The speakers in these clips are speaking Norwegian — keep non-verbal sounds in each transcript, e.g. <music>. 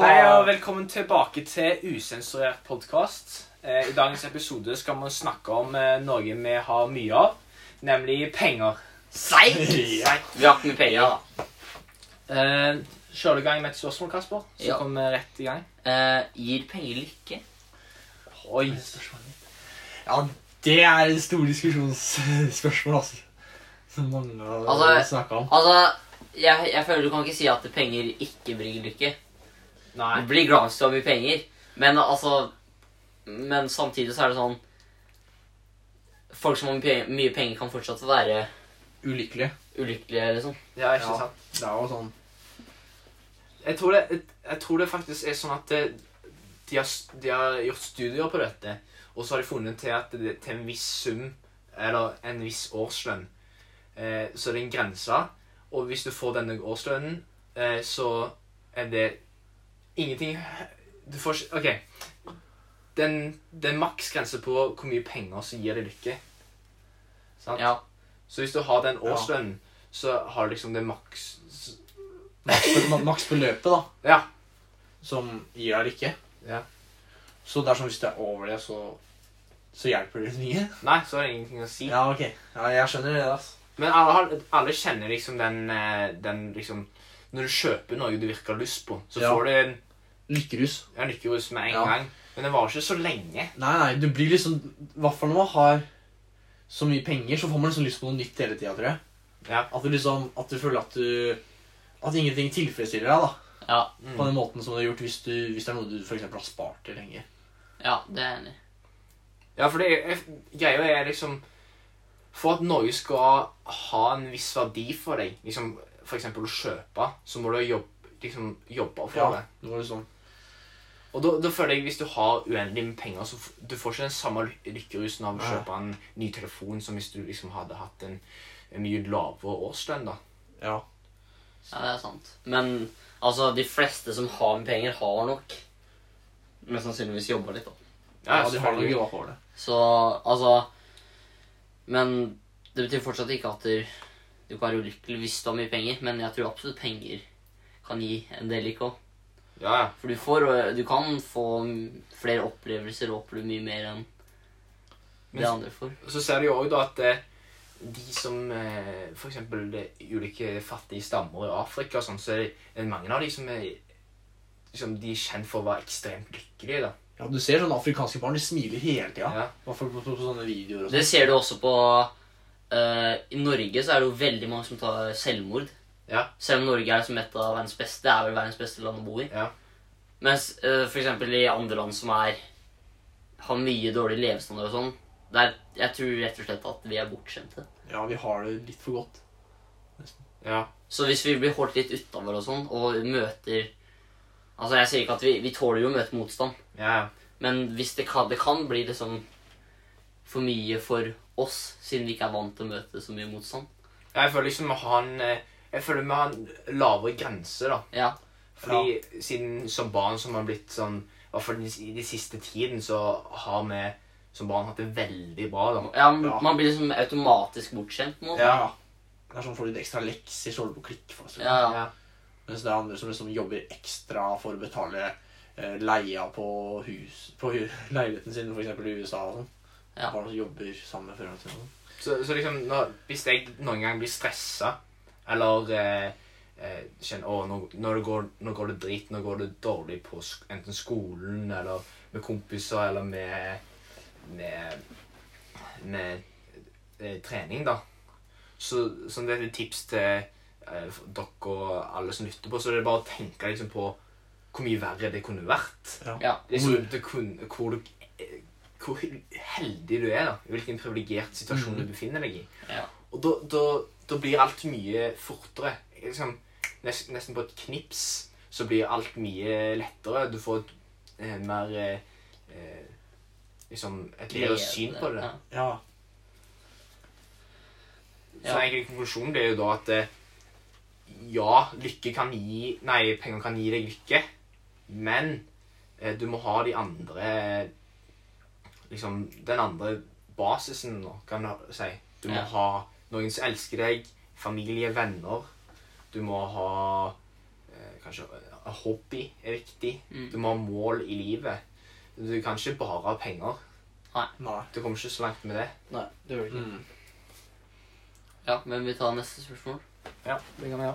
velkommen tilbake til Usensurert podkast. I dagens episode skal vi snakke om eh, noe vi har mye av, nemlig penger. Seig! Ja. Vi har ikke mye penger, da. Eh, Kjører du i gang med et spørsmål, Kasper? Så Ja. kommer vi rett i gang. Eh, gir penger lykke? Oi. Spørsmålet mitt. Ja, det er et stort diskusjonsspørsmål, altså. Som mange har Altså- snakket om. Altså, jeg, jeg føler du kan ikke si at penger ikke bringer lykke. Nei. Du blir glad hvis du har mye penger, men altså Men samtidig så er det sånn Folk som har mye pe- mye penger, kan fortsatt være Ulykkelig. ulykkelige, liksom. Ja, ikke Ja. sant? Det er jo sånn Jeg tror, det, jeg, jeg tror det faktisk er sånn at det, de, har, s- de har gjort studier på dette, og så har de funnet til at det, til en viss sum, eller en viss årslønn, eh, så er det en grense. Og hvis du får denne årslønnen, eh, så er det ingenting Du får ikke OK. Den, det er maksgrense på hvor mye penger som gir deg lykke. Sant? Ja. Så hvis du har den Ja. årslønnen, så har du liksom det maks... maks- maksbeløpet, da, Ja. som gir deg lykke. Ja. Så dersom hvis det er over det, så, så hjelper det mye. Nei, så er det ingenting å si. Ja, ok. Ja, jeg skjønner det, altså. Men alle, har- alle kjenner liksom den, eh, den liksom, Når du kjøper noe du virker lyst på, så Ja. får du en, Lykkerus. en lykkerus med en Ja. gang. Men den varer ikke så lenge. Nei, nei, du blir liksom I hvert fall når man har så mye penger, så får man liksom lyst på noe nytt hele tida, tror jeg. Ja. At du liksom At du føler at du At ingenting tilfredsstiller deg, da. Ja, På den måten som du har gjort hvis, du, hvis det er noe du for eksempel har spart til lenge. ja det er jeg enig i. Ja, for det er, greia er liksom For at noe skal ha en viss verdi for deg, liksom for eksempel å kjøpe, så må du jobbe, liksom, jobbe for Ja. det. Nå er det sånn. Og da, da føler jeg hvis du har uendelig med penger, så f du får ikke den samme ly- lykkerusen av å Nei. kjøpe en ny telefon som hvis du liksom hadde hatt en, en mye lavere årslønn, da. Ja. Ja, det er sant. Men altså, de fleste som har mye penger, har nok Men sannsynligvis jobba litt, da. ja, de har noe jobba for det. Så altså Men det betyr fortsatt ikke at du, du kan være ulykkelig hvis du har mye penger, men jeg tror absolutt penger kan gi en del lykke òg. Ja, ja. For du, får, øh, du kan få mm, flere opplevelser og oppleve mye mer enn Men det s- andre får. Og så ser du jo også da at eh, de som eh, for eksempel de ulike fattige stammer i Afrika og sånn, så er det mange av de som er liksom, de er kjent for å være ekstremt lykkelige, da. Ja, Du ser sånne afrikanske barn, de smiler hele tida. Ja. I hvert fall på, på, på sånne videoer og Det sånn. ser du også på øh, I Norge så er det jo veldig mange som tar selvmord. Ja. Selv om Norge er som et av verdens beste, det er vel verdens beste land å bo i. Ja. Mens eh, for eksempel i andre land som er har mye dårlig levestandard og sånn, der jeg tror rett og slett at vi er bortskjemte. Ja, vi har det litt for godt. ja. Så hvis vi blir holdt litt utenfor og sånn, og møter Altså, jeg sier ikke at vi, vi tåler jo å møte motstand, ja. men hvis det kan, det kan bli liksom for mye for oss, siden vi ikke er vant til å møte så mye motstand. Jeg føler liksom vi har en eh, Jeg føler vi har en lavere grense, da. Ja. Fordi siden som barn som har blitt sånn I hvert fall i de siste tiden så har vi som barn hatt det veldig bra, da. ja. Man blir liksom automatisk bortskjemt. på en måte. Ja. Det er sånn får du litt ekstra lekser, så holder du på å klikke for deg. Ja. Ja. Mens det er andre som liksom jobber ekstra for å betale eh, leia på hus På hu- <laughs> leiligheten sin, for eksempel i USA og sånn. Ja. Barn som jobber sammen med foreldrene sine. og sånn. Så, så liksom, når, hvis jeg noen gang blir stressa, eller eh, eh, kjenner å, nå, nå, det går, nå går det drit, nå går det dårlig på sk enten skolen eller med kompiser eller med med, med eh, trening, da. Så, så det er et tips til eh, for dere og alle som lytter på, så er det bare å tenke liksom, på hvor mye verre det kunne vært. Ja. Liksom, Hvor- det kunne, hvor, du, eh, hvor heldig du er, da. I hvilken privilegert situasjon du befinner deg i. Mm. Ja. Og da, da, da blir alt mye fortere. Liksom, nesten, nesten på et knips så blir alt mye lettere. Du får et eh, mer eh, eh, Liksom et bedre syn på det. Ja. Ja. Så egentlig konklusjonen blir jo da at eh, ja, lykke kan gi Nei, penger kan gi deg lykke, men eh, du må ha de andre Liksom den andre basisen, nå, kan du si. Du må Ja. ha noen som elsker deg, familie, venner. Du må ha eh, kanskje eh, hobby er viktig. Mm. Du må ha mål i livet. Du kan ikke bare ha penger. Nei. Du kommer ikke så langt med det. Nei, det gjør det ikke. Mm. Mm. Ja, men vi tar neste spørsmål. Det kan vi ha.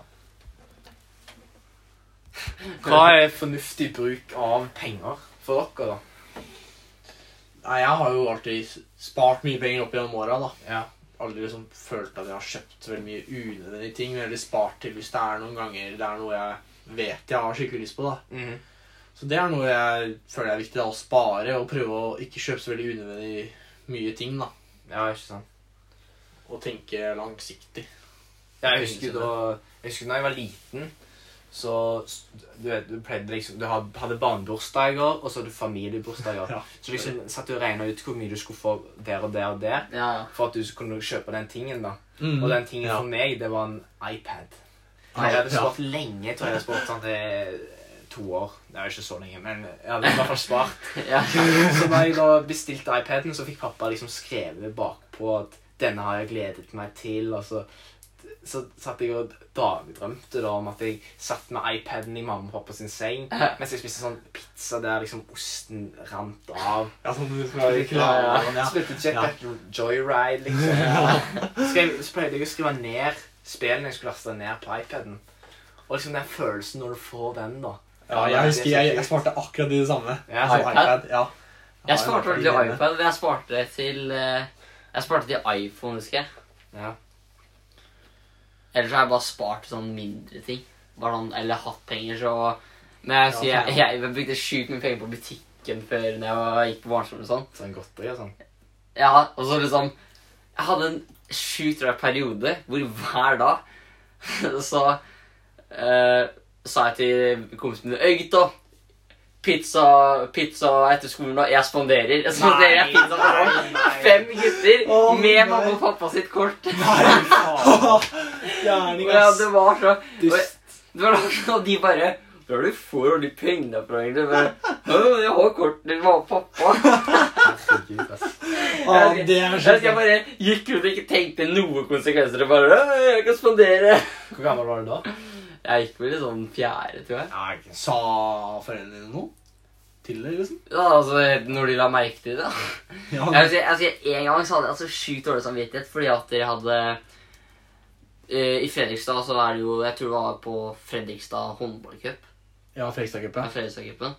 Hva er fornuftig bruk av penger for dere, da? Nei, jeg har jo alltid s- spart mye penger opp gjennom åra, da. Ja. Aldri liksom følt at jeg har kjøpt veldig mye unødvendige ting. Men heller spart til hvis det er noen ganger det er noe jeg vet jeg har skikkelig lyst på, da. Mhm. Så det er noe jeg føler er viktig, da. Å spare og prøve å ikke kjøpe så veldig unødvendig mye ting, da. Ja, ikke sant. Og tenke langsiktig. Ja, jeg husker da jeg husker når jeg var liten, så s- Du vet, du pleide liksom Du ha- hadde barnebursdager, og så hadde du familiebursdager. <laughs> Ja. Så liksom satt du og regna ut hvor mye du skulle få der og der og der, Ja, ja. for at du kunne kjøpe den tingen, da. Mm. Og den tingen Ja. for meg, det var en iPad. Ja, Jeg hadde ja. spart lenge. Jeg tror jeg hadde spart sånn til to år. Det er jo ikke så lenge, men jeg hadde i hvert fall spart. <laughs> ja. Så da jeg da bestilte iPaden, så fikk pappa liksom skrevet bakpå at denne har jeg gledet meg til. og så... Så satt jeg og dagdrømte da om at jeg satt med iPaden i mamma og pappa sin seng mens jeg spiste sånn pizza der liksom osten rant av. Ja, sånn du skal Ja, være klar ja. over den, ja. Spilte Jet Ja. Battle Joyride, <laughs> liksom. Skrev, så pleide jeg å skrive ned spillene jeg skulle laste ned på iPaden. Og liksom den følelsen når du får den, da. ja, jeg husker jeg, jeg sparte akkurat i det samme. Ja, Som så- iPad, ja. Jeg sparte vel til Ja, jeg har vært iPad, men jeg sparte til eh, Jeg sparte til iPhone, husker jeg. Ja. Ellers har jeg bare spart sånn mindre ting. Bare sånn, Eller hatt penger, så Men jeg, Ja, sier, jeg, sånn, jeg, jeg brukte sjukt mye penger på butikken før når jeg var- gikk på barneskolen og sånn. Sånn godteri <laughs> og sånn. Ja, og så liksom Jeg hadde en sjukt rar periode hvor hver dag <laughs> så eh, sa jeg til kompisen min Øy, gutta. Pizza, pizza etter skolen, og jeg spanderer. <laughs> Jeg spanderer jeg pizza på folk. <laughs> Fem gutter Å, med nei. mamma og pappa sitt kort. <laughs> Gjerning, Ja, ass. det var så Du, og jeg- det var sånn at de bare Hvor er det du får alle de pengene fra, egentlig? Bare, «Å, Jeg har kortet til mamma og <laughs> pappa. herregud, ass. Å, det er Jeg, jeg så bare gikk rundt og ikke tenkte noen konsekvenser. Og bare «Å, Jeg kan spandere. Hvor gammel var du da? Jeg gikk vel i sånn fjerde, tror jeg. Ja, ikke Sa foreldrene dine noe? Til det, liksom? Ja, altså, Når de la merke til det. da. Ja, Jeg vil si, jeg vil si, en gang så hadde jeg altså sjukt dårlig samvittighet fordi at dere hadde eh, I Fredrikstad så er det jo Jeg tror det var på Fredrikstad håndballcup. ja Ja. Fredrikstad-cupen. Fredrikstad-cupen.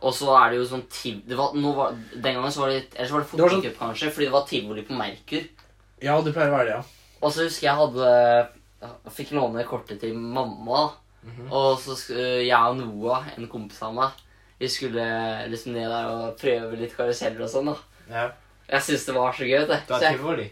Og så er det jo sånn tiv... Det var, nå var, den gangen så var det Eller så var det var sånn- fotballcup, kanskje, fordi det var tivoli på Merkur. Ja, det pleier å være det, ja. Og så husker jeg hadde jeg fikk låne kortet til mamma. Mhm. Og så sk- øh, jeg og Noah, en kompis av meg, vi skulle liksom ned der og prøve litt karuseller og sånn. da. Ja. Jeg syntes det var så gøy. vet du. Du Så har jeg, tivoli.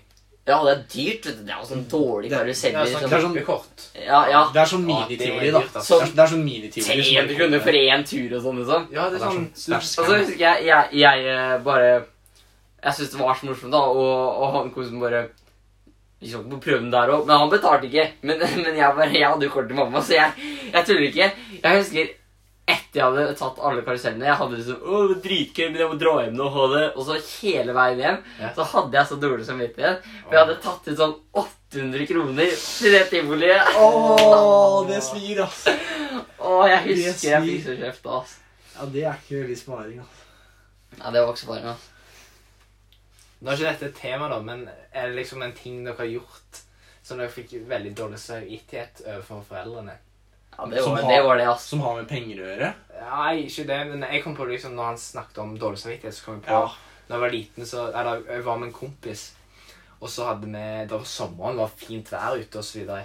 ja, det er dyrt. vet du. Det er jo sånn dårlig Det- Det karuseller. er sånn Sånn, det er sånn- klippekort. ja, ja. Det er Ja, sånn det er minitivoli, da. dyrt, ass. Det er, det er sånn minitivoli. som 300 bare- kroner for én tur og sånn, liksom. Ja, det er Det er sånn sånn du- Og så husker jeg jeg, jeg eh, bare Jeg syntes det var så morsomt, da, og, og han kompisen bare vi skal ikke på prøven der òg. Men han betalte ikke. Men, <laughs> men jeg, bare, jeg hadde jo kort til mamma, så jeg, jeg tuller ikke. Jeg husker etter jeg hadde tatt alle karusellene Jeg hadde liksom Å, det var dritgøy, men jeg må dra hjem nå. Ha det. Og så hele veien hjem Ja. så hadde jeg så dårlig samvittighet. For jeg hadde tatt ut sånn 800 kroner til det tivoliet. Åh, det svir, ass. Og jeg Yes, husker jeg vi- fikk så kjeft da, ass. Ja, det er ikke veldig sparing, ass. Ja, det var ikke så bare, ass. Nå er ikke dette et tema, da, men er det liksom en ting dere har gjort som dere fikk veldig dårlig samvittighet overfor foreldrene? Ja, det Som var har- det, var det ass. Som har med penger å gjøre. Nei, ikke det, men jeg kom på det liksom når han snakket om dårlig samvittighet, så kom jeg på Ja. Når jeg var liten, så Eller jeg var med en kompis, og så hadde vi Det var sommeren, det var fint vær ute, og så videre.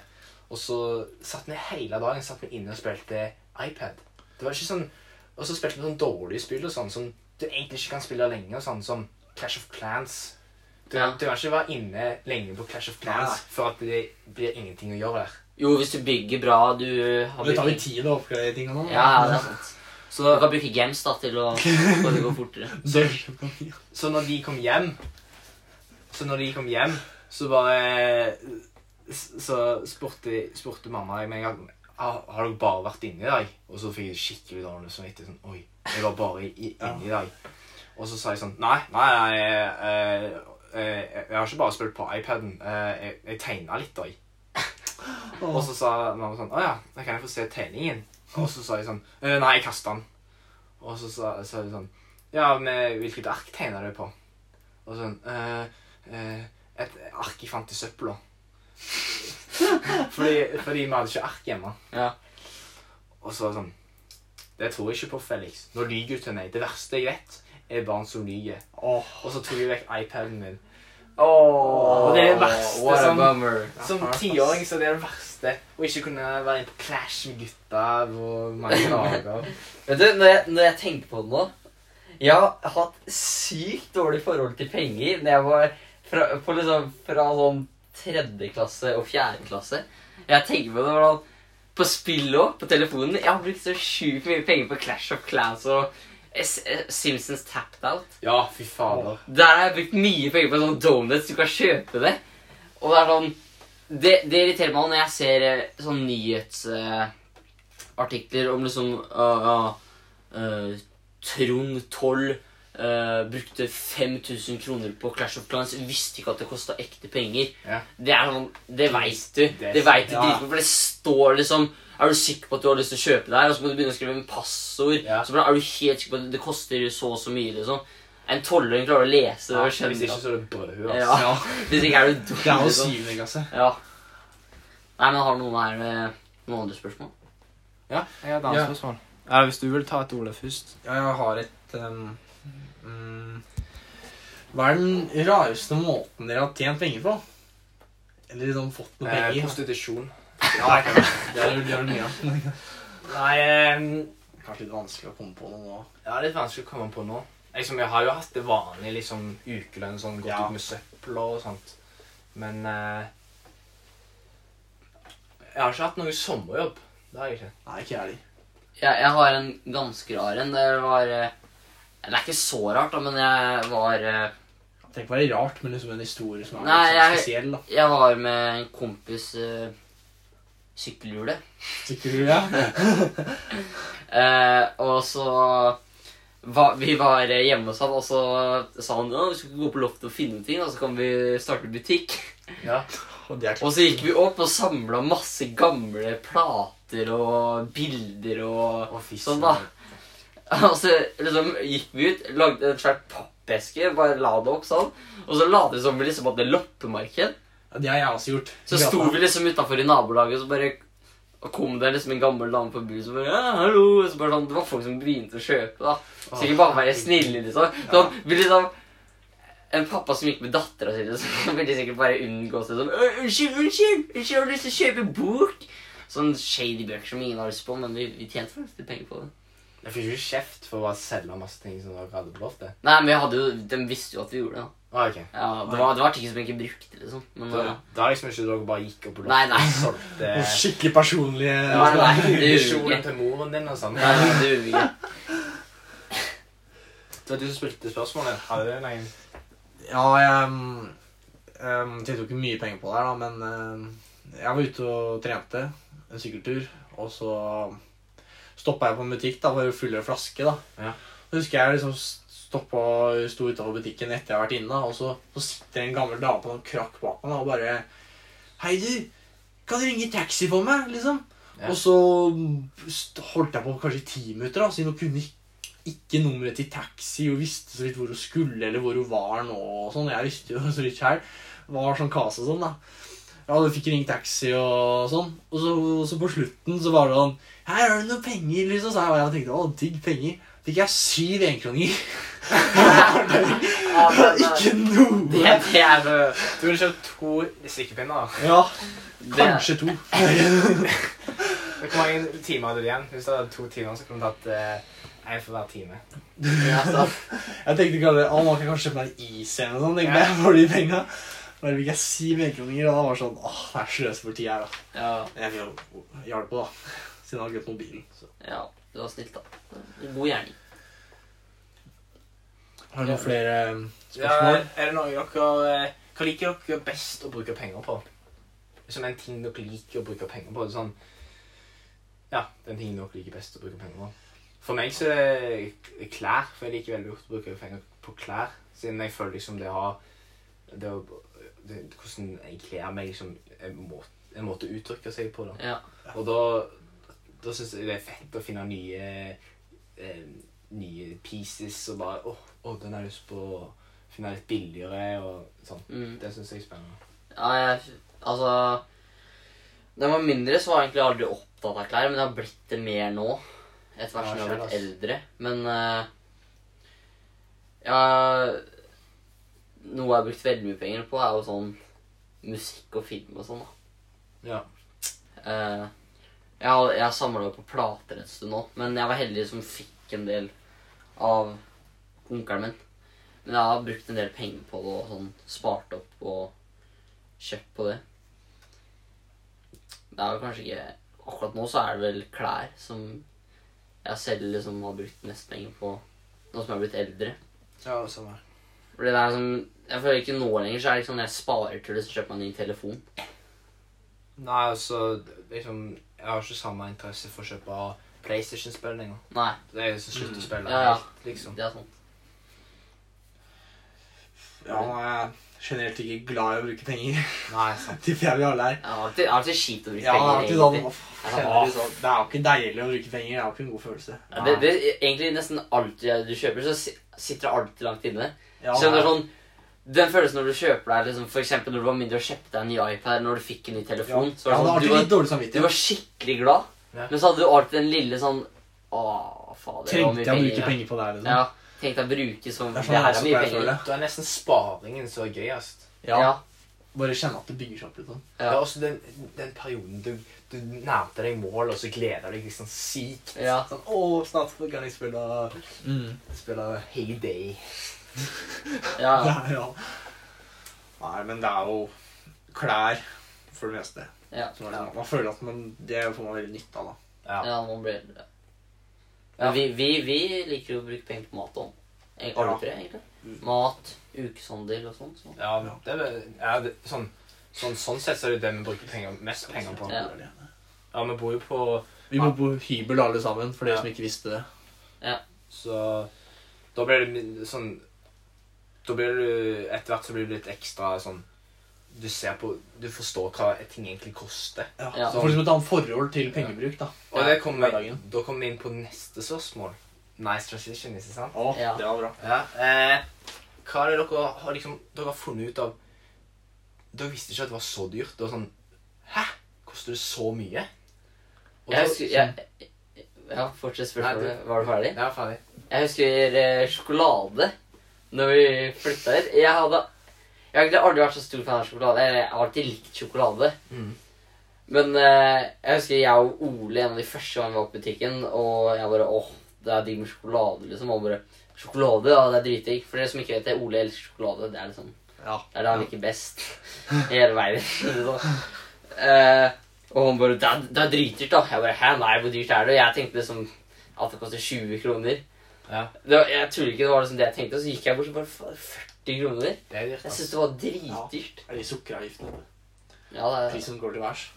Og så satt vi hele dagen satt vi inne og spilte iPad. Det var ikke sånn Og så spilte vi sånn dårlige spill og sånn som du egentlig ikke kan spille lenge, og sånn som Clash of Clans. Du, Ja. du kan ikke være inne lenge på Clash of Clans Nei. for at det blir ingenting å gjøre der. Jo, hvis du bygger bra, du har Det tar jo tid å oppgradere ting og sånn. da. Ja, ja, det er sant. Så du kan bruke gems da, til <laughs> å få det til å gå fortere. Sølvkopi. Så når de kom hjem Så når de kom hjem Så bare Så spurte, spurte mamma meg at Har har dere bare vært inne i dag? Og så fikk jeg skikkelig dårlig samvittighet. Sånn, Oi, jeg var bare i, inne i dag. Og så sa jeg sånn Nei, nei, nei jeg, jeg, jeg har ikke bare spilt på iPaden. eh, Jeg, jeg tegna litt, da. jeg». Og så sa mamma sånn Å ja, da kan jeg få se tegningen. Og så sa jeg sånn «Eh, Nei, jeg kasta den. Og så sa sa jeg sånn Ja, men hvilket ark tegna du på? Og sånn «Eh, eh, Et ark jeg fant i søpla. fordi, fordi vi hadde ikke ark hjemme. Ja. Og så var det sånn Det tror jeg ikke på, Felix. Nå lyver du til meg. Det verste jeg vet, er barn som lyver. Åh, Og så tok jeg vekk iPaden min. Oh, Og det er det verste What a som- bummer. Som Ja, faen, ass. tiåring så er det det verste. Å ikke kunne være inne på Clash med gutta på mange dager. Vet du, når jeg, når jeg tenker på det nå Jeg har hatt sykt dårlig forhold til penger når jeg var fra, på liksom, fra sånn tredje klasse og fjerde klasse. Jeg tenker på det hvordan På spill òg, på telefonen. Jeg har brukt så sjukt mye penger på Clash of Clans og S eh, Simpsons Tapped Out. Ja, fy fader. Der har jeg brukt mye penger på sånne donuts. Du kan kjøpe det. Og det er sånn Det, det irriterer meg når jeg ser eh, sånne nyhetsartikler om liksom ah, ah, eh, Trond Toll eh, brukte 5000 kroner på Clash of Clans. Visste ikke at det kosta ekte penger. Ja. Det er sånn, det veit du. er Det vet du ja. dritgodt, for det står liksom Er du sikker på at du har lyst til å kjøpe det her? Og så må du begynne å skrive en passord. Ja. Så bare, er du helt sikker på at det koster så og så mye? liksom En tolvåring klarer å lese det og Hvis skjønne ikke det. så er det brødhue. Ja. Altså. <laughs> Hvis ikke er du dum. det er jo liksom. syvende klasse. Ja. Nei, men har noen her eh, noen andre spørsmål? Ja, jeg har et annet Ja. spørsmål. Eller hvis du vil ta et Ole først. Ja, jeg har et ehm, mm, Hva er den rareste måten dere har tjent penger på? Eller liksom fått noe Eh, penger? prostitusjon. ja, det kan være. Det er det det er det mye av. Nei eh, Kanskje litt vanskelig å komme på noe nå. Ja, det er litt vanskelig å komme på nå. Jeg, som, jeg har jo hatt det vanlig liksom, ukelønn, sånn, gått Ja. ut med søppel og sånt. Men eh, Jeg har ikke hatt noe sommerjobb. Det har jeg ikke. Nei, ikke jeg heller. Ja, jeg har en ganske rar en. Det var eh, Det er ikke så rart, da, men jeg var eh, Tenk på det rart, men liksom en historie som er Nei, litt sånn jeg- spesiell, da. Jeg var med en kompis eh, sykkelhjule. Sikker du, ja? Eh, og så var- Vi var eh, hjemme hos han, og så sa han at vi skulle gå på loftet og finne ting, og så kan vi starte butikk. Ja. Og det er Og så gikk vi opp og samla masse gamle plater og bilder og Og fisk. Sånn da. <laughs> Og så liksom gikk vi ut, lagde en svært pappeske, bare la det opp sånn. Og så la det som vi liksom hadde loppemarked. Ja, det har jeg også gjort. Så sto vi liksom utafor i nabolaget, og så bare og kom det liksom en gammel dame forbi som bare ja, hallo, og så bare sånn, Det var folk som begynte å kjøpe, da. Så ikke bare være snille, liksom. Sånn, vi liksom en pappa som gikk med dattera si, liksom, <laughs> ville sikkert bare unngå seg sånn «Øh, 'Unnskyld, unnskyld, unnskyld, har du lyst til å kjøpe bok?' Sånn shady bøker som ingen har lyst på, men vi, vi tjente faktisk penger på det. Jeg fikk jo ikke kjeft for å bare selge masse ting som dere hadde på loftet. Nei, men vi hadde jo, De visste jo at vi gjorde det. da. Ah, ok. Ja, Det var, det var ting som jeg ikke brukte, liksom. Men, Da, ja. da er liksom ikke dere bare gikk opp på Nei, loftet nei. og solgte <laughs> Skikkelig personlige Nei, nei, det gjorde vi kjolen <laughs> ikke. til moren din og sånn. Nei, nei, det gjorde vi ikke. Det var du som spilte spørsmålet. Har du en egen? Ja, jeg um, um, tjente jo ikke mye penger på det her, da, men um, jeg var ute og trente en sykkeltur, og så stoppa jeg på en butikk da, for å fylle en flaske. da. Ja. Så husker jeg liksom stoppa sto utenfor butikken etter jeg har vært inne, da, og så, så sitter en gammel dame på en krakk bak meg da, og bare Hei, du! Kan du ringe taxi for meg? liksom? Ja. Og så st- holdt jeg på kanskje i ti minutter, da, siden hun kunne ikke nummeret til taxi og visste så vidt hvor hun skulle, eller hvor hun var nå og sånn. Jeg visste jo <laughs> så vidt selv Var sånn kase og sånn, da. Ja, du fikk ringt taxi og sånn. Og så, så på slutten så var det sånn Her har du noen penger, liksom. Så jeg, og jeg tenkte å, digg penger. Fikk jeg syv <laughs> enkroninger. Ja, det, det, ikke noe! det, det er jo Du kunne kjøpt to strikkepinner. da. Ja, det, kanskje to. Hvor mange timer hadde du igjen? Hvis du hadde to timer, så kunne du tatt eh, en for hver time. ja, så, Jeg tenkte kanskje, å, nå kan jeg kanskje kjøpe meg en is eller noe sånt, tenkte jeg, for de penga. Bare fikk jeg syv enkroninger, og da var det sånn åh, det er sløs for tid her, da. ja, Men jeg fikk jo hjelp på, da. Siden jeg hadde glemt mobilen. Så. ja, du var snill, da. God gjerning. Har du noen flere eh, Ja, spørsmål? er det noe dere eh, Hva liker dere best å bruke penger på? Som en ting dere liker å bruke penger på? Det er Sånn, ja, den ting dere liker best å bruke penger på. For meg så er det klær. For jeg liker veldig godt å bruke penger på klær. Siden jeg føler liksom det har det, å- det, Hvordan jeg kler meg, liksom en måte, en måte å uttrykke seg på. da. Ja. Og da Da syns jeg det er fett å finne nye eh, nye pieces og bare Å, å, den har jeg lyst på å finne litt billigere og sånn. Mm. Det syns jeg er spennende. Ja, jeg, altså Da jeg var mindre, så var jeg egentlig aldri opptatt av klær, men det har blitt det mer nå. Etter hvert som jeg har blitt eldre. Men eh, Ja Noe jeg har brukt veldig mye penger på, er jo sånn musikk og film og sånn. da. Ja. Eh, jeg har, jeg har samla på plater en stund nå, men jeg var heldig som fikk en del av onkelen min. Men jeg har brukt en del penger på det og sånn spart opp og kjøpt på det. Det er jo kanskje ikke Akkurat nå så er det vel klær som jeg selv liksom har brukt mest penger på nå som jeg har blitt eldre. ja samme her. Fordi det er som, Jeg føler ikke nå lenger så er det ikke sånn jeg sparer til det, så kjøper jeg en ny telefon. Nei, altså liksom, Jeg har ikke samme interesse for å kjøpe PlayStation-spill lenger. Nei, Det er jo som slutter å spille Ja, ja. helt, liksom. det er sånn. sant. Ja, nå er jeg generelt ikke glad i å bruke penger. <laughs> Nei, sant. Tipper jeg vi alle er. Det er alltid, alltid kjipt å bruke Ja, det er penger. alltid egentlig. sånn, «Åh, kjenner du sånn, det er jo ikke deilig å bruke penger. Det er jo ikke en god følelse. Ja, Det, det, egentlig nesten alt jeg- du kjøper, så si- sitter det alltid langt inne. Ja, så det er sånn, Den følelsen når du kjøper deg liksom, for eksempel når du var mindre og kjøpte deg en ny iPad, når du fikk en ny ja, telefon så jeg hadde var det alltid sånn, litt du, var, dårlig du samvittighet. var skikkelig glad, Ja. men så hadde du alltid den lille sånn Å, fader, det var mye Trengte jeg å bruke ja. penger på det her, liksom? Ja, tenkte jeg å bruke som Det Det er sånn her jeg er også mye pleier å penger. føle. Da er nesten sparingen som er gøyest. Ja. Ja, Bare kjenne at det bygger seg opp litt. sånn. Det er ja, også den, den perioden du, du nærmte deg mål, og så gleder du deg liksom sykt. ja. Sånn, å, snart kan jeg spille, Mm. spille Heyday. ja, <laughs> Ja, ja. Nei, men det er jo klær for det meste. ja. Som er sånn, Man føler at man, det får man veldig nytte av. da. Ja. Ja, nå blir det Ja. Men vi, vi, vi liker jo å bruke penger på mat òg. Alle Ja. tre, egentlig. Mat, ukeshandel og sånn. Så. Ja, det er, vel- ja, det, sånn, sånn, sånn sett så er det det vi bruker penger, mest penger på. Ja. Ja, vi bor jo på Vi bor på hybel alle sammen, for dere Ja. som ikke visste det. Så da blir det min- sånn Da blir du Etter hvert så blir du litt ekstra sånn Du ser på Du forstår hva ting egentlig koster. Ja. Så får liksom et annet forhold til pengebruk, da. Og Ja, det kommer vi, hverdagen. da kommer vi inn på neste spørsmål. Nice transition, ikke sant? Å, Ja. det var bra. Ja, eh, hva er det dere har liksom Dere har funnet ut av Dere visste ikke at det var så dyrt. Det var sånn Hæ? Koster det så mye? Og Jeg da- husker jeg, Ja, fortsett Nei, spørsmålet. Var du ferdig? Jeg er ferdig. Jeg husker eh, sjokolade når vi flytta hit. Jeg hadde Jeg har egentlig aldri vært så stor fan av sjokolade. Eller, Jeg har alltid likt sjokolade. Mhm. Men eh, jeg husker jeg og Ole en av de første gangene vi var på butikken, og jeg bare åh, det er digg med sjokolade, liksom. Og han bare Sjokolade, ja, det er dritdigg. For dere som ikke vet det, Ole elsker sjokolade. Det er liksom Ja. det er det han liker best <laughs> i hele verden. sånn. Eh, og han bare det er, 'Det er dritdyrt', da. Jeg bare 'hæ, nei, hvor dyrt er det?' Og jeg tenkte liksom at det koster 20 kroner. Ja. Det var, jeg tror ikke det var liksom det jeg tenkte, og så gikk jeg bort og bare faen, 40 kroner. Det er dyrt. Jeg Altså. synes det var dritdyrt. Er de sukkeravgiftene? Ja, det er Prisen går til værs.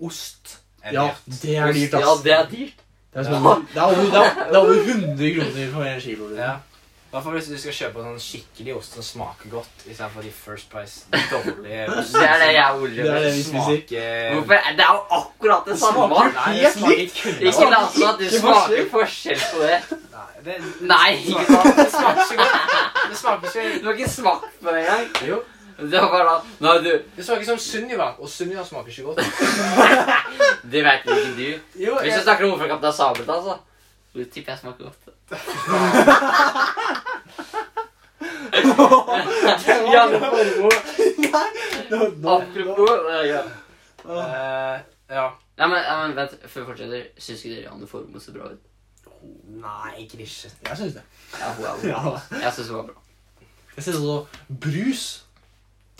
Ost er Ja, dyrt. det er dyrt, Ja, ass. det er dyrt. Det er, sånn, det, er over, det, er, det er over 100 kroner for en kilo. Ja. Liksom. I hvert fall hvis du skal kjøpe sånn skikkelig ost som smaker godt, istedenfor de First Price de dårlige Det er det jeg og Ole Det er det vi gjør. spiser. smaker Hvorfor? er- Det er jo akkurat det samme. smaker- Nei, det smaker kun Ikke ost. la som at du Ikke smaker forskjell på det. Nei, det, Nei, ikke sant? det smaker ikke godt. Det smaker Du ikke har ikke smakt på det engang. Jo. Det var bare da Nei, du Det smaker som Sunniva, og Sunniva smaker ikke godt. Det vet jo ikke du. Jo, Hvis du snakker om hvorfor Kaptein Sabeltann, altså, så Du tipper jeg smaker godt. Ja, men Nå, nå, nå. apropos eh, ja. Eh, ja. Nei, men, ja, men vent, før vi fortsetter. Syns ikke dere Janne Formoe ser bra ut? Nei, ikke ikke. Jeg syns det. Ja, hun er Ja. god. Jeg syns hun var bra. Jeg syns også brus.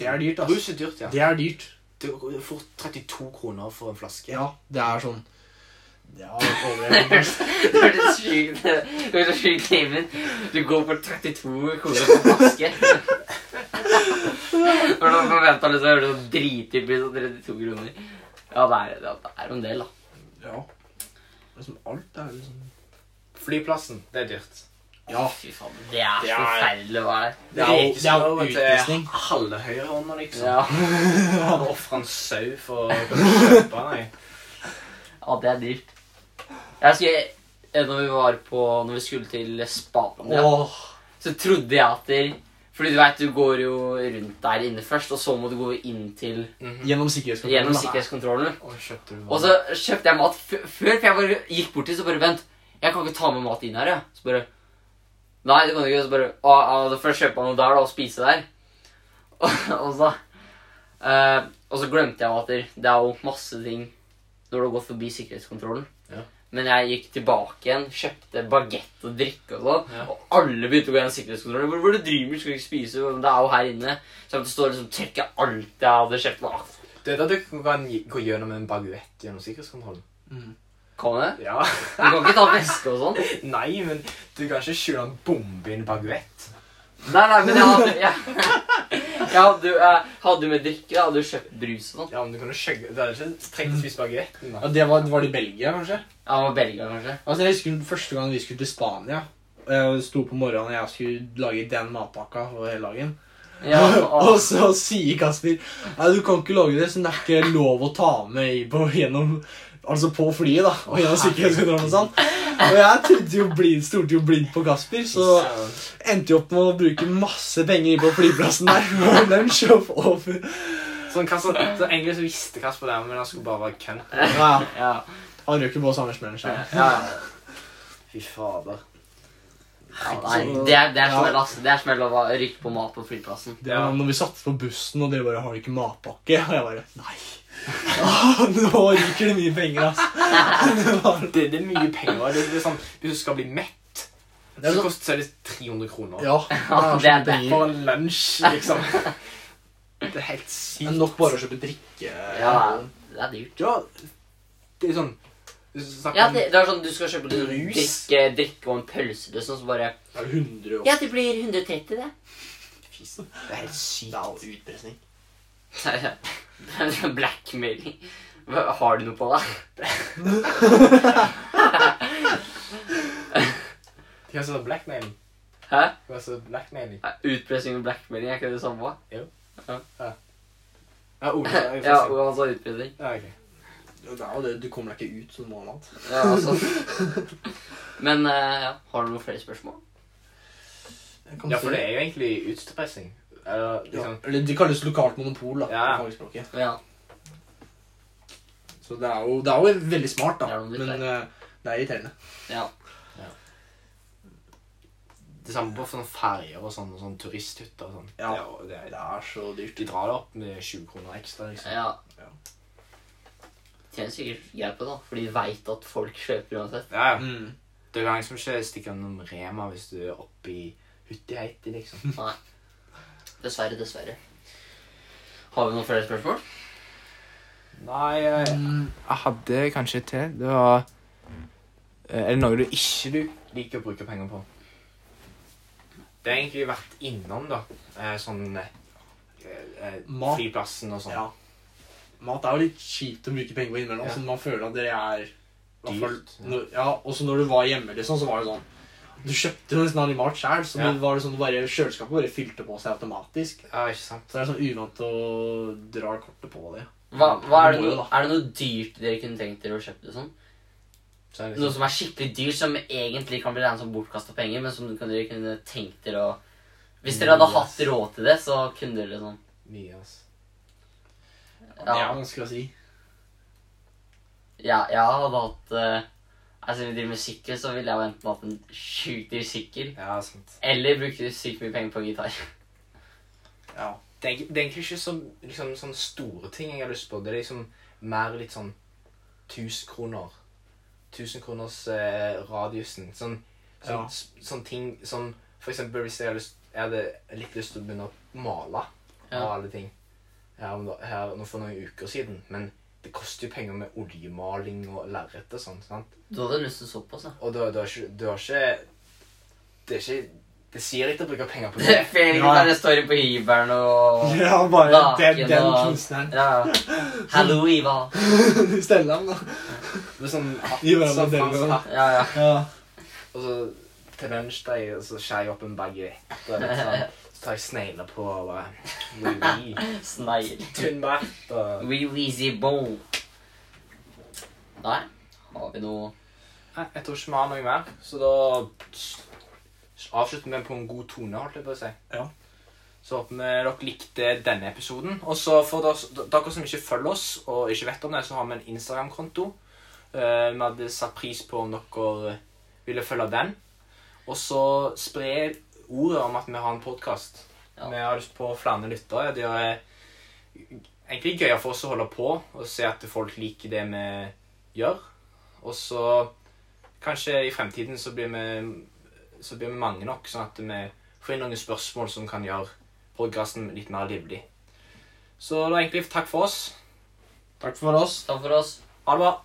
Det er dyrt, ass. Brus er dyrt, ja. Det er dyrt. Du får 32 kroner for en flaske. Ja, det er sånn Ja, overlevelse. Det hørtes <laughs> sykt Det hørtes sykt Damon. Du går for 32 kroner på flaske. For da forventa liksom å høre sånn dritdyr pris på 32 kroner. Ja, det er, ja, det er jo en del, da. Ja. Liksom alt er liksom Flyplassen, det er dyrt. Ja. Fy faen, det er Ah. Det er- så forferdelig å være der. Det er jo- det er jo Rekesmør til utvisning. Halve høyrehånda, liksom. Ja. Ja. Ofre en sau for å kunne kjøpe nei. Ja, det er dyrt. Jeg husker eh, når vi var på Når vi skulle til Spania, Åh, så trodde jeg at der, Fordi du vet, du går jo rundt der inne først, og så må du gå inn til Mhm. gjennom sikkerhetskontrollen. Gjennom da. sikkerhetskontrollen. Og kjøpte du Og så kjøpte jeg mat f før, for jeg bare gikk bort til så bare Vent, jeg kan ikke ta med mat inn her, jeg. Så bare Nei, det kan du ikke. Så bare Å, å, da får jeg kjøpe meg noe der, da, og spise der. <laughs> Og, og så eh, Og så glemte jeg at det- det er jo masse ting når du har gått forbi sikkerhetskontrollen. Ja. Men jeg gikk tilbake igjen, kjøpte bagett og drikke og sånn. Ja. Og alle begynte å gå gjennom sikkerhetskontrollen. Hvor, hvor du driver, skal du ikke spise? Men Det er jo her inne. Så jeg måtte stå og liksom trekke alt jeg hadde kjøpt. meg. Det er da du kan gi- gå gjennom en baguett gjennom sikkerhetskontrollen. Mm. Kan jeg? Ja. <laughs> Du kan ikke ta væske og sånn. Nei, men du kan ikke skjule en bombe i en baguett. Nei, nei, men jeg hadde Jeg, jeg hadde, jeg hadde med drikke, jeg hadde jo kjøpt brus og sånn. Ja, men du kan jo skjøgge Du hadde ikke trengt å spise baguetten. da. Ja, det var, var det i Belgia, kanskje? Ja, det var Belgia, kanskje. Altså, jeg husker Første gang vi skulle til Spania og Jeg sto på morgenen og jeg skulle lage den matpakka for hele dagen. <laughs> Ja, og og, så sier Kasper Nei, du kan ikke lage det, så det er ikke lov å ta med i på, gjennom, altså på flyet. da, Og gjennom sikkerhetskontrollen og sånn. Og jeg trodde jo blind, stolte jo blindt på Kasper, så endte jo opp med å bruke masse penger inn på flyplassen der. <laughs> Og lunsj og og- Sånn, hva så, så egentlig så visste Kasper det, men han skulle bare være kønn. ja, ja, Han røk jo på samme smellen sjøl. ja, Fy fader. ja, nei, det er, det er smell, ass. Det er smell å va- rykke på mat på flyplassen. Det var når vi satt på bussen, og dere bare 'Har du ikke matpakke?' Og jeg bare <laughs> 'Nei'. Ah, nå ryker det mye penger, ass. Det, var, Det, det er mye penger. Det, det er sånn, Hvis du skal bli mett, det er så sånn, koster det 300 kroner. <laughs> ja, Ja, det det er er så mye penger. For en lunsj, liksom. <laughs> Det er helt Det sykt. er nok bare å kjøpe drikke. Ja, det er dyrt. Ja, det er sånn Hvis du snakker Ja, om det, det er sånn du skal kjøpe en Brus? drikke, drikke og en pølse, liksom, så bare Det er 100 og Ja, det blir 130, <laughs> det. fisen Det er helt Det sykt. er jo utpressing. Blackmailing. Hva- Har du noe på deg? De kan stå blackmailing. Hæ? De kan stå blackmailing. Utpressing og blackmailing, er ikke det det samme? Ja, Ole, jeg er Ja, forresten. og han sa utpressing. ja, ok. Det er jo det, Du kommer deg ikke ut, så du må ha mat. Ja, altså. Men eh, ja, har du noen flere spørsmål? Jeg kan ja, si- for det er jo egentlig utpressing. Eller ja. liksom Eller De kalles lokalt monopol, da. Ja. på fagspråket. Ja. Så det er, jo, det er jo veldig smart, Det da. er noe litt Men eh, det er irriterende. ja. Det samme på sånne ferger og sånn, og sånn turisthytter og sånn. Ja. Det er jo- Det, er- Det er så dyrt. de drar det opp med 20 kroner ekstra, liksom. ja. Ja. Tjener sikkert greit på det, da, for de veit at folk kjøper uansett. Ja, ja. Mm. Det er jo mange som ikke stikker innom Rema hvis du er oppe i Huttiheiti, liksom. Nei. Dessverre, dessverre. Har vi noen flere spørsmål? Nei, jeg, Mm, jeg hadde kanskje et til. Det var Eh, Er det noe du ikke du liker å bruke penger på? Det har egentlig vært innom, da. Eh, Sånn eh, eh, Mat. Flyplassen og sånn. Ja. Mat er jo litt kjipt å bruke penger på innimellom. Ja. Så man føler at dere er i hvert fall- Dyrt, ja. Når, ja, Også når du var hjemme, liksom, så var det sånn Du kjøpte jo nesten aldri mat sjøl, så Ja. det var det sånn, bare, kjøleskapet bare fylte på seg automatisk. Ja, ikke sant? Så det er sånn uvant å dra kortet på det. Hva, hva er, det Må jo, noe, er det noe dyrt dere kunne tenkt dere å kjøpe? Sånn? Så er det Noe liksom, som er skikkelig dyrt, som egentlig kan bli regnet som bortkasta penger, men som du- dere kunne tenkt dere å Hvis dere hadde Yes. hatt råd til det, så kunne dere sånn mye, altså. Det er Ja. vanskelig å si. Ja, jeg hadde hatt eh, Altså, vi driver med sykkel, så ville jeg jo enten hatt en sjukt dyr sykkel Ja, sant. eller brukt sykt mye penger på gitar. <laughs> Ja. det er, det er egentlig ikke så, liksom, sånn store ting jeg har lyst på. Det er liksom mer litt sånn 1000 kroner. 1000 kroners eh, radiusen. Sånn, sånn, Ja. s- sånn ting som For eksempel hvis jeg, har lyst, jeg hadde litt lyst til å begynne å male av Ja. alle ting her, om da- her nå for noen uker siden, men det koster jo penger med oljemaling og lerret og sånn. sant? Du hadde lyst til altså. såpass, <laughs> da. Og du, du, har ikke, du har ikke Det er ikke Det sier ikke å bruke penger på <laughs> det. Felix Ja. bare står på hybelen og <laughs> ja, bare den, Naken den og- kunstneren. Ja. Hallo, Iva. <laughs> Stellan, da. Det er sånn, Gi hverandre sånn den fransk gangen. hatt. Ja, ja. Ja. Og så til lunsjdag så skjærer jeg opp en baguette. og litt sånn. Så tar jeg snegler på og bare oui, oui. Snegl. Tynn mat og Wee-weezy bow. Nei. Har vi noe Nei, jeg tror ikke vi har noe mer, så da s- avslutter vi på en god tone, holdt jeg på å si. Ja. Så håper vi dere likte denne episoden. Og så for dere, dere som ikke følger oss, og ikke vet om det, så har vi en Instagram-konto. Eh, vi hadde satt pris på om dere ville følge den. Og så spre ordet om at vi har en podkast. Ja. Vi har lyst på flere lyttere. Det er eh, egentlig gøyere for oss å holde på og se at folk liker det vi gjør. Og så kanskje i fremtiden så blir vi, så blir vi mange nok, sånn at vi får inn noen spørsmål som kan gjøre podkasten litt mer livlig. Så det var egentlig takk for oss. Takk for oss. Takk for oss. Ha det bra.